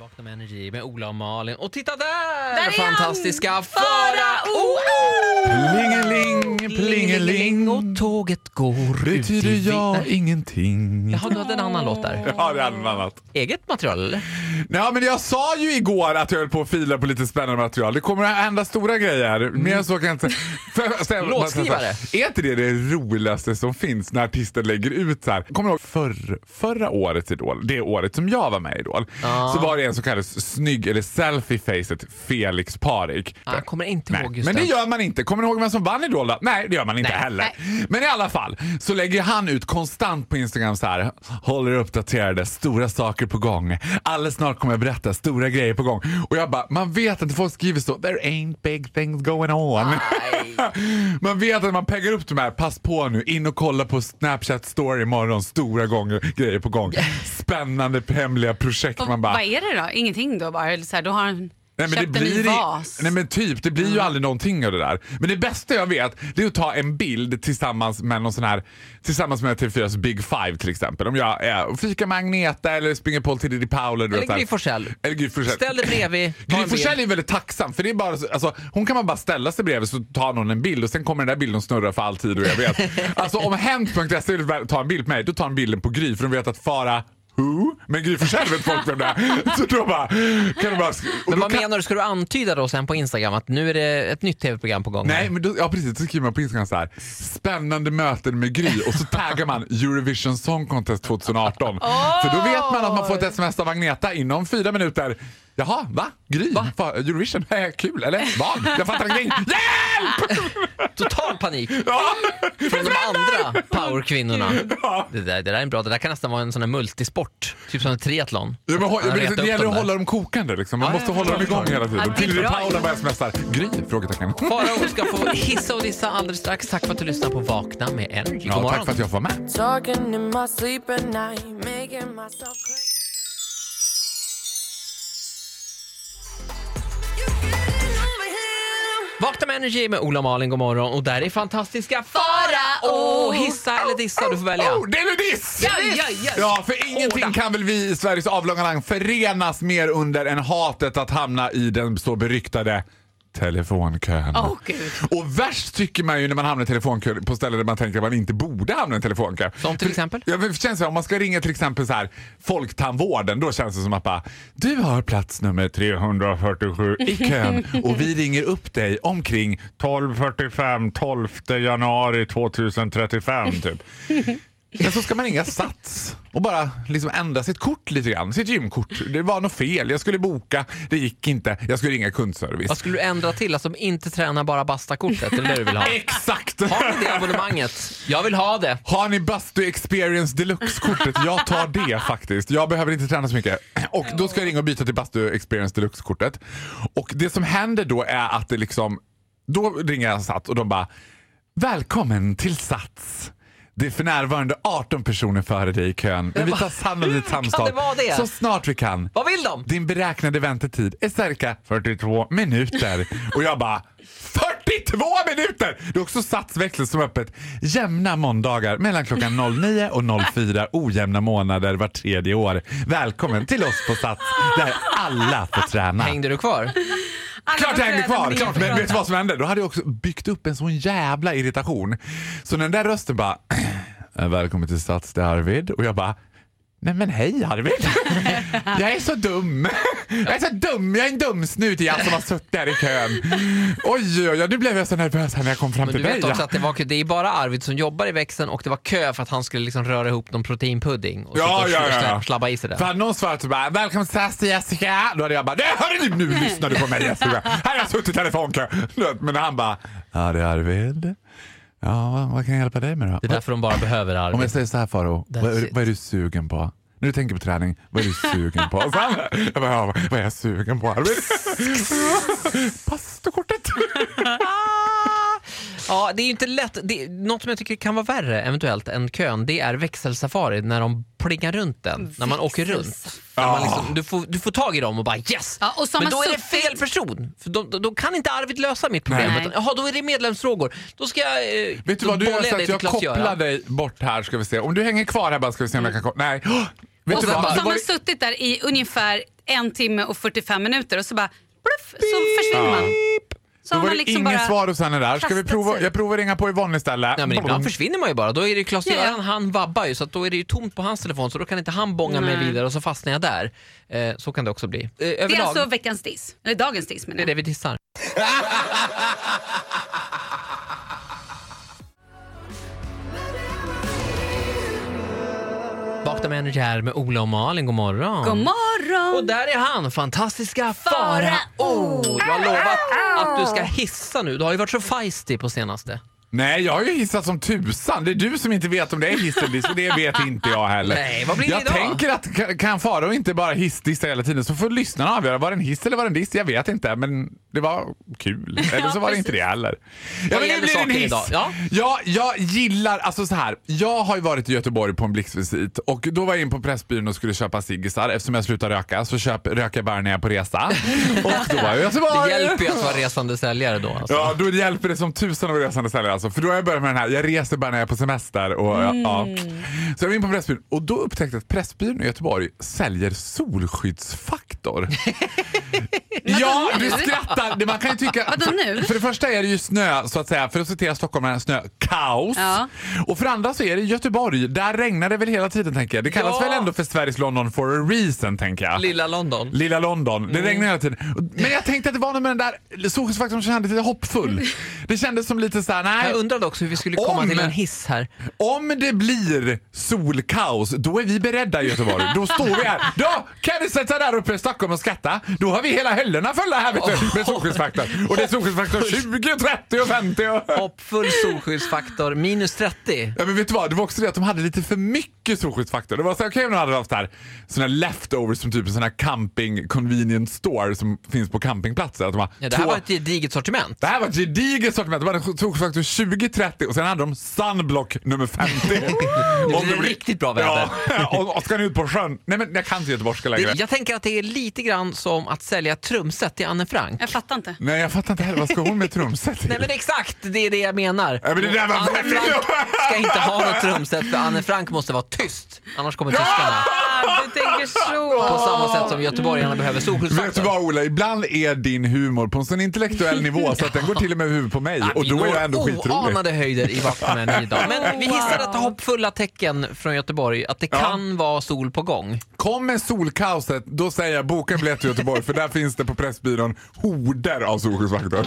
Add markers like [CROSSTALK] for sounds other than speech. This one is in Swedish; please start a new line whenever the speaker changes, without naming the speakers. Vakna med energi med Ola och Malin. Och titta där!
Där är han!
Fantastiska
Fara
Farao!
Ola!
Plingeling,
Och tåget går ut i
Betyder jag
vinden.
ingenting?
Jaha, du hade en annan låt där.
Ja, det är bland annat.
Eget material eller?
Nej, men jag sa ju igår att jag höll på att fila på lite spännande material. Det kommer att hända stora grejer här. Mer än så kan
[LAUGHS]
jag inte... För- sen-
Mm. Låtskrivare.
Är inte det det roligaste som finns när artister lägger ut så här? Kommer du ihåg förr, förra årets Idol? Det året som jag var med i Idol. Så var det en som kallades snygg, eller selfie-facet, Felix Parik.
Ah, jag kommer inte
Nej,
ihåg just
men det
den.
gör man inte. Kommer ni ihåg vem som vann Idol då? Nej, det gör man inte
Nej.
heller.
Nej.
Men i alla fall så lägger han ut konstant på Instagram så här. Håller er uppdaterade, stora saker på gång. Alldeles snart kommer jag berätta, stora grejer på gång. Och jag bara, man vet att folk skriver så. There ain't big things going on. [LAUGHS] man vet att man peggar upp de här, pass på nu, in och kolla på Snapchat story imorgon, stora gånger, grejer på gång. Spännande hemliga projekt.
Och
man bara,
Vad är det då? Ingenting då bara? Eller så här, då har han
Nej, men
köpt
det blir
en ny
i-
vas?
Nej men typ, det blir ju
Mm.
aldrig någonting av det där. Men det bästa jag vet det är att ta en bild tillsammans med någon sån här, tillsammans med TV4s Big Five till exempel. Om jag är och fikar med Agneta eller springer på till Diddy Powell. du vet,
Eller
så här.
Gry Forssell.
Eller Gry Forssell.
Ställ dig bredvid. ta en
Gry
bild.
Forssell är väldigt tacksam för det är bara, så- alltså, hon kan man bara ställa sig bredvid så tar någon en bild och sen kommer den där bilden och snurrar för all tid och jag vet.
[LAUGHS]
alltså om hent.se vill väl ta en bild på mig, då tar en bilden på Gry för de vet att fara Who? Men Gry Forssell vet folk vem det är. [LAUGHS] Så då bara, kan de bara, sk- och
Men
då
vad
kan,
menar du? Ska du antyda då sen på Instagram att nu är det ett nytt tv-program på gång?
Nej, men då, ja, precis. Så skriver man på Instagram så här. Spännande möten med Gry
[LAUGHS]
och så taggar man Eurovision Song Contest 2018. För då vet man att man får ett sms av Agneta inom fyra minuter. Jaha, va? Gry? Va? Eurovision? [LAUGHS] Eh, Kul, eller? Vad? Jag
[LAUGHS]
fattar ingenting. Hjälp!
Total
[LAUGHS]
panik
Ja.
från de andra powerkvinnorna.
Ja.
Det där, det där är bra. Det där kan nästan vara en sån här multisport. Typ som en triathlon.
Ja, men, hå-
Han
men,
retar
det
upp
gäller
dem
att
där.
hålla dem kokande. Liksom. Man
Ja,
måste
jag
hålla dem
förstår.
igång hela
Ja,
tiden.
det är
Till
bra
Paula
ju.
bara smsar. Gry? Frågetecken.
Farao ska få hissa och dissa alldeles strax. Tack för att du lyssnar på Vakna med Energy. God
Ja,
morgon.
tack för att jag får vara med.
Talking in my sleep at night, making myself crazy.
Vakna med Energy med Ola och Malin, god morgon. Och där är fantastiska Farao! Hissa eller dissa, du får välja.
Oh, det är diss!
Ja, ja, ja.
Ja, för ingenting kan väl vi i Sveriges avlånga land förenas mer under än hatet att hamna i den så beryktade telefonkön.
Åh, gud.
Och värst tycker man ju när man hamnar i telefonkö på ställen där man tänker att man inte borde hamna i en telefonkö.
Som till exempel?
Ja, men det känns så här, om man ska ringa till exempel så här, Folktandvården, då känns det som att bara, du har plats nummer 347 i
[LAUGHS]
kön och vi ringer upp dig omkring 12.45 12 januari 2035
[LAUGHS]
typ. Men så ska man ringa Sats och bara liksom ändra sitt kort lite grann, sitt gymkort. Det var något fel, jag skulle boka, det gick inte, jag skulle ringa kundservice.
Vad skulle du ändra till? Att de inte tränar bara bastakortet? Är det det du vill ha?
[LAUGHS] Exakt!
Har ni det abonnemanget? Jag vill ha det.
Har ni Bastu Experience Deluxe-kortet? Jag tar det faktiskt. Jag behöver inte träna så mycket. Och Då ska jag ringa och byta till Bastu Experience Deluxe-kortet. Och Det som händer då är att det liksom... Då ringer jag Sats och de bara Välkommen till Sats. Det är för närvarande 18 personer före dig i kön. Men vi tar sannolikt
Kan
samtal
det vara det?
så snart vi kan.
Vad vill de?
Din beräknade väntetid är cirka 42 minuter. Och jag bara 42 minuter! Det är också satsväxel som är öppet jämna måndagar mellan klockan 09 och 04 ojämna månader var tredje år. Välkommen till oss på Sats där alla får träna.
Hängde du kvar?
Alla
Klart jag hängde
Alltså,
föräldrar
kvar!
vill
Klart.
inte
Men vet du
prata.
vad som hände? Då hade jag också byggt upp en sån jävla irritation. Så den där rösten bara [CLEARS THROAT] Välkommen till Stats, det är Arvid. Och jag bara Nej men hej Arvid! [LAUGHS] Jag är så dum! [LAUGHS] Jag är så dum, jag är en dum snut jag som har suttit där i kön. [LAUGHS] Oj, oj, oj, nu blev jag så nervös här när jag kom fram
Men
till
du
dig.
vet också att det, var, kö- det är bara Arvid som jobbar i växeln och det var kö för att han skulle liksom röra ihop någon proteinpudding och, sitta
Ja,
och
ja,
sl-
ja.
sl- slabba i sig det.
För hade någon svarat så bara “Välkommen till SAS till Jessica”. Då hade jag bara “Nej, hörru, nu, nu lyssnar du på
[LAUGHS]
mig Jessica. Här har jag suttit i telefonkö”. Du vet, Men han bara “Ja, det är Arvid. Ja, vad, vad kan jag hjälpa dig med då?”
Det är därför de bara behöver
Om jag
Arvid.
säger så här Faro, vad,
That's
är-
it.
vad är du sugen på? När du tänker på träning, vad är du sugen på? Och Så han, jag bara, ja, vad är jag sugen på Arvid? Pastakortet!
Ja, det är ju inte lätt. Det, något som jag tycker kan vara värre eventuellt än kön, det är växelsafari när de plingar runt den. När man åker runt. När man liksom, du, får, du får tag i dem och bara yes!
Ja, och så har
Men
man
då är det
suttit-
fel person. För då, då, då kan inte Arvid lösa mitt problem.
Nej.
Utan, Jaha, då är det medlemsfrågor. Då ska jag... Eh,
Vet du
då
vad, du
bollar
gör så
dig
att
till
jag
Klas-Göran.
kopplar dig bort här ska vi se. Om du hänger kvar här bara ska vi se om jag kan koppla. Nej. Oh, vet
Och
du
så, och
vad?
så har
Det var
man
ju-
suttit där i ungefär en timme och 45 minuter och så bara pluff, så försvinner man. Så
Då
har
var
man
det
liksom
inget
bara...
svar hos henne där. Ska vi
kastat
prova?
sig.
Jag provar ringa på Yvonne istället.
Ja, men ibland försvinner man ju bara. Då är det ju Klas
Ja, ja.
Göran, han vabbar ju så att då är det ju tomt på hans telefon så då kan inte han bånga mig
Nej.
vidare och så fastnar jag där. Eh, så kan det också bli. Eh, överlag,
Det är alltså veckans diss. Eller dagens diss menar
det är
jag.
det vi [LAUGHS] dissar. Vakna med Energy här med Ola och Malin, god morgon.
God morgon!
Och där är han, fantastiska Farao! Jag har lovat att du ska hissa nu. Du har ju varit så feisty på senaste.
Nej, jag har ju hissat som tusan. Det är du som inte vet om det är hiss eller diss, för det vet inte jag heller.
Nej, vad blir det
jag
idag?
tänker att kan- kan Farao inte bara hissdissa hela tiden så får lyssnarna avgöra. Var det en hiss eller var det en diss? Jag vet inte, men det var
[LAUGHS]
kul. Eller så var det inte det heller. Ja,
Vad
men nu
gäller
blir det en
saken
hiss.
idag? Ja.
Ja, jag gillar, alltså så här. Jag har ju varit i Göteborg på en blixtvisit och då var jag in på Pressbyrån och skulle köpa ciggisar. Eftersom jag slutade röka så köp, röker jag bara när jag är
[LAUGHS]
på resa. Och då var jag i Göteborg.
Det hjälper ju att vara resande säljare då. Alltså.
Ja, då hjälper det som tusan att resa istället alltså. För då har jag börjat med den här, jag reser bara när jag är på semester. Och,
Mm.
ja, ja. Så jag var in på Pressbyrån och då upptäckte jag att Pressbyrån i Göteborg
[LAUGHS]
säljer solskyddsfaktor. ja, du skrattar. Det- Man kan ju tycka...
Vadå nu?
För, för det första är det ju snö, så att säga, för att citera stockholmarna, snökaos.
Ja.
Och för det andra så är det Göteborg. Där regnar det väl hela tiden, tänker jag. Det kallas
Ja.
väl ändå för Sveriges London for a reason, tänker jag.
Lilla London.
Lilla London.
Mm.
Det regnar hela tiden. Men jag tänkte att det var något med den där solskyddsfaktorn som kändes
[LAUGHS]
lite hoppfull. Det kändes som lite så här, nej.
Jag undrade också hur vi skulle komma
Om-
till en hiss här.
Om det blir solkaos, då är vi beredda i Göteborg. Då står vi här. Då kan ni sätta där uppe i Stockholm och skratta. Då har vi hela höllorna fulla här vet
[LAUGHS]
du, med solskyddsfaktorn. Och det är solskyddsfaktor 20, 30 och 50. Och...
Hoppfull solskyddsfaktor, minus 30.
Ja, men vet du vad? Det var också det att de hade lite för mycket solskyddsfaktor. Det var så här, okej om de hade haft så här, såna här leftovers som typ en sån här camping convenience store som finns på campingplatser. Att de har
Ja, det här
två-
var ett gediget sortiment.
det här var ett gediget sortiment. De hade en solskyddsfaktor 20-30 och sen hade de Sunblock nummer 50.
blir [LAUGHS]
Om
det riktigt bra väder.
Ja, [LAUGHS] och, och ska ni ut på sjön? Nej men jag kan inte göteborgska längre.
Det, jag tänker att det är lite grann som att sälja ett trumset till Anne Frank.
Jag fattar inte.
Nej jag fattar inte heller, vad ska hon med trumset till?
Nej men exakt, det är det jag menar.
Ja, men det där var
Anne
väldigt
Frank
bra.
ska inte ha något trumset för Anne Frank måste vara tyst. Annars kommer tyskarna.
Ah, du tänker så.
På samma sätt som göteborgarna behöver
Vet du
solskyddsfaktor.
vad Ola, ibland är din humor på en sån intellektuell nivå så att den går till och med över huvudet på mig
Ja,
och
vi
då är
når
jag ändå skitrolig.
oanade höjder i Vakna med
[LAUGHS]
Energy idag. Men vi hissar detta hoppfulla tecken från Göteborg att det kan vara sol på gång.
Kommer solkaoset, då säger jag boka en biljett till Göteborg för där finns det på Pressbyrån horder av solskyddsfaktor.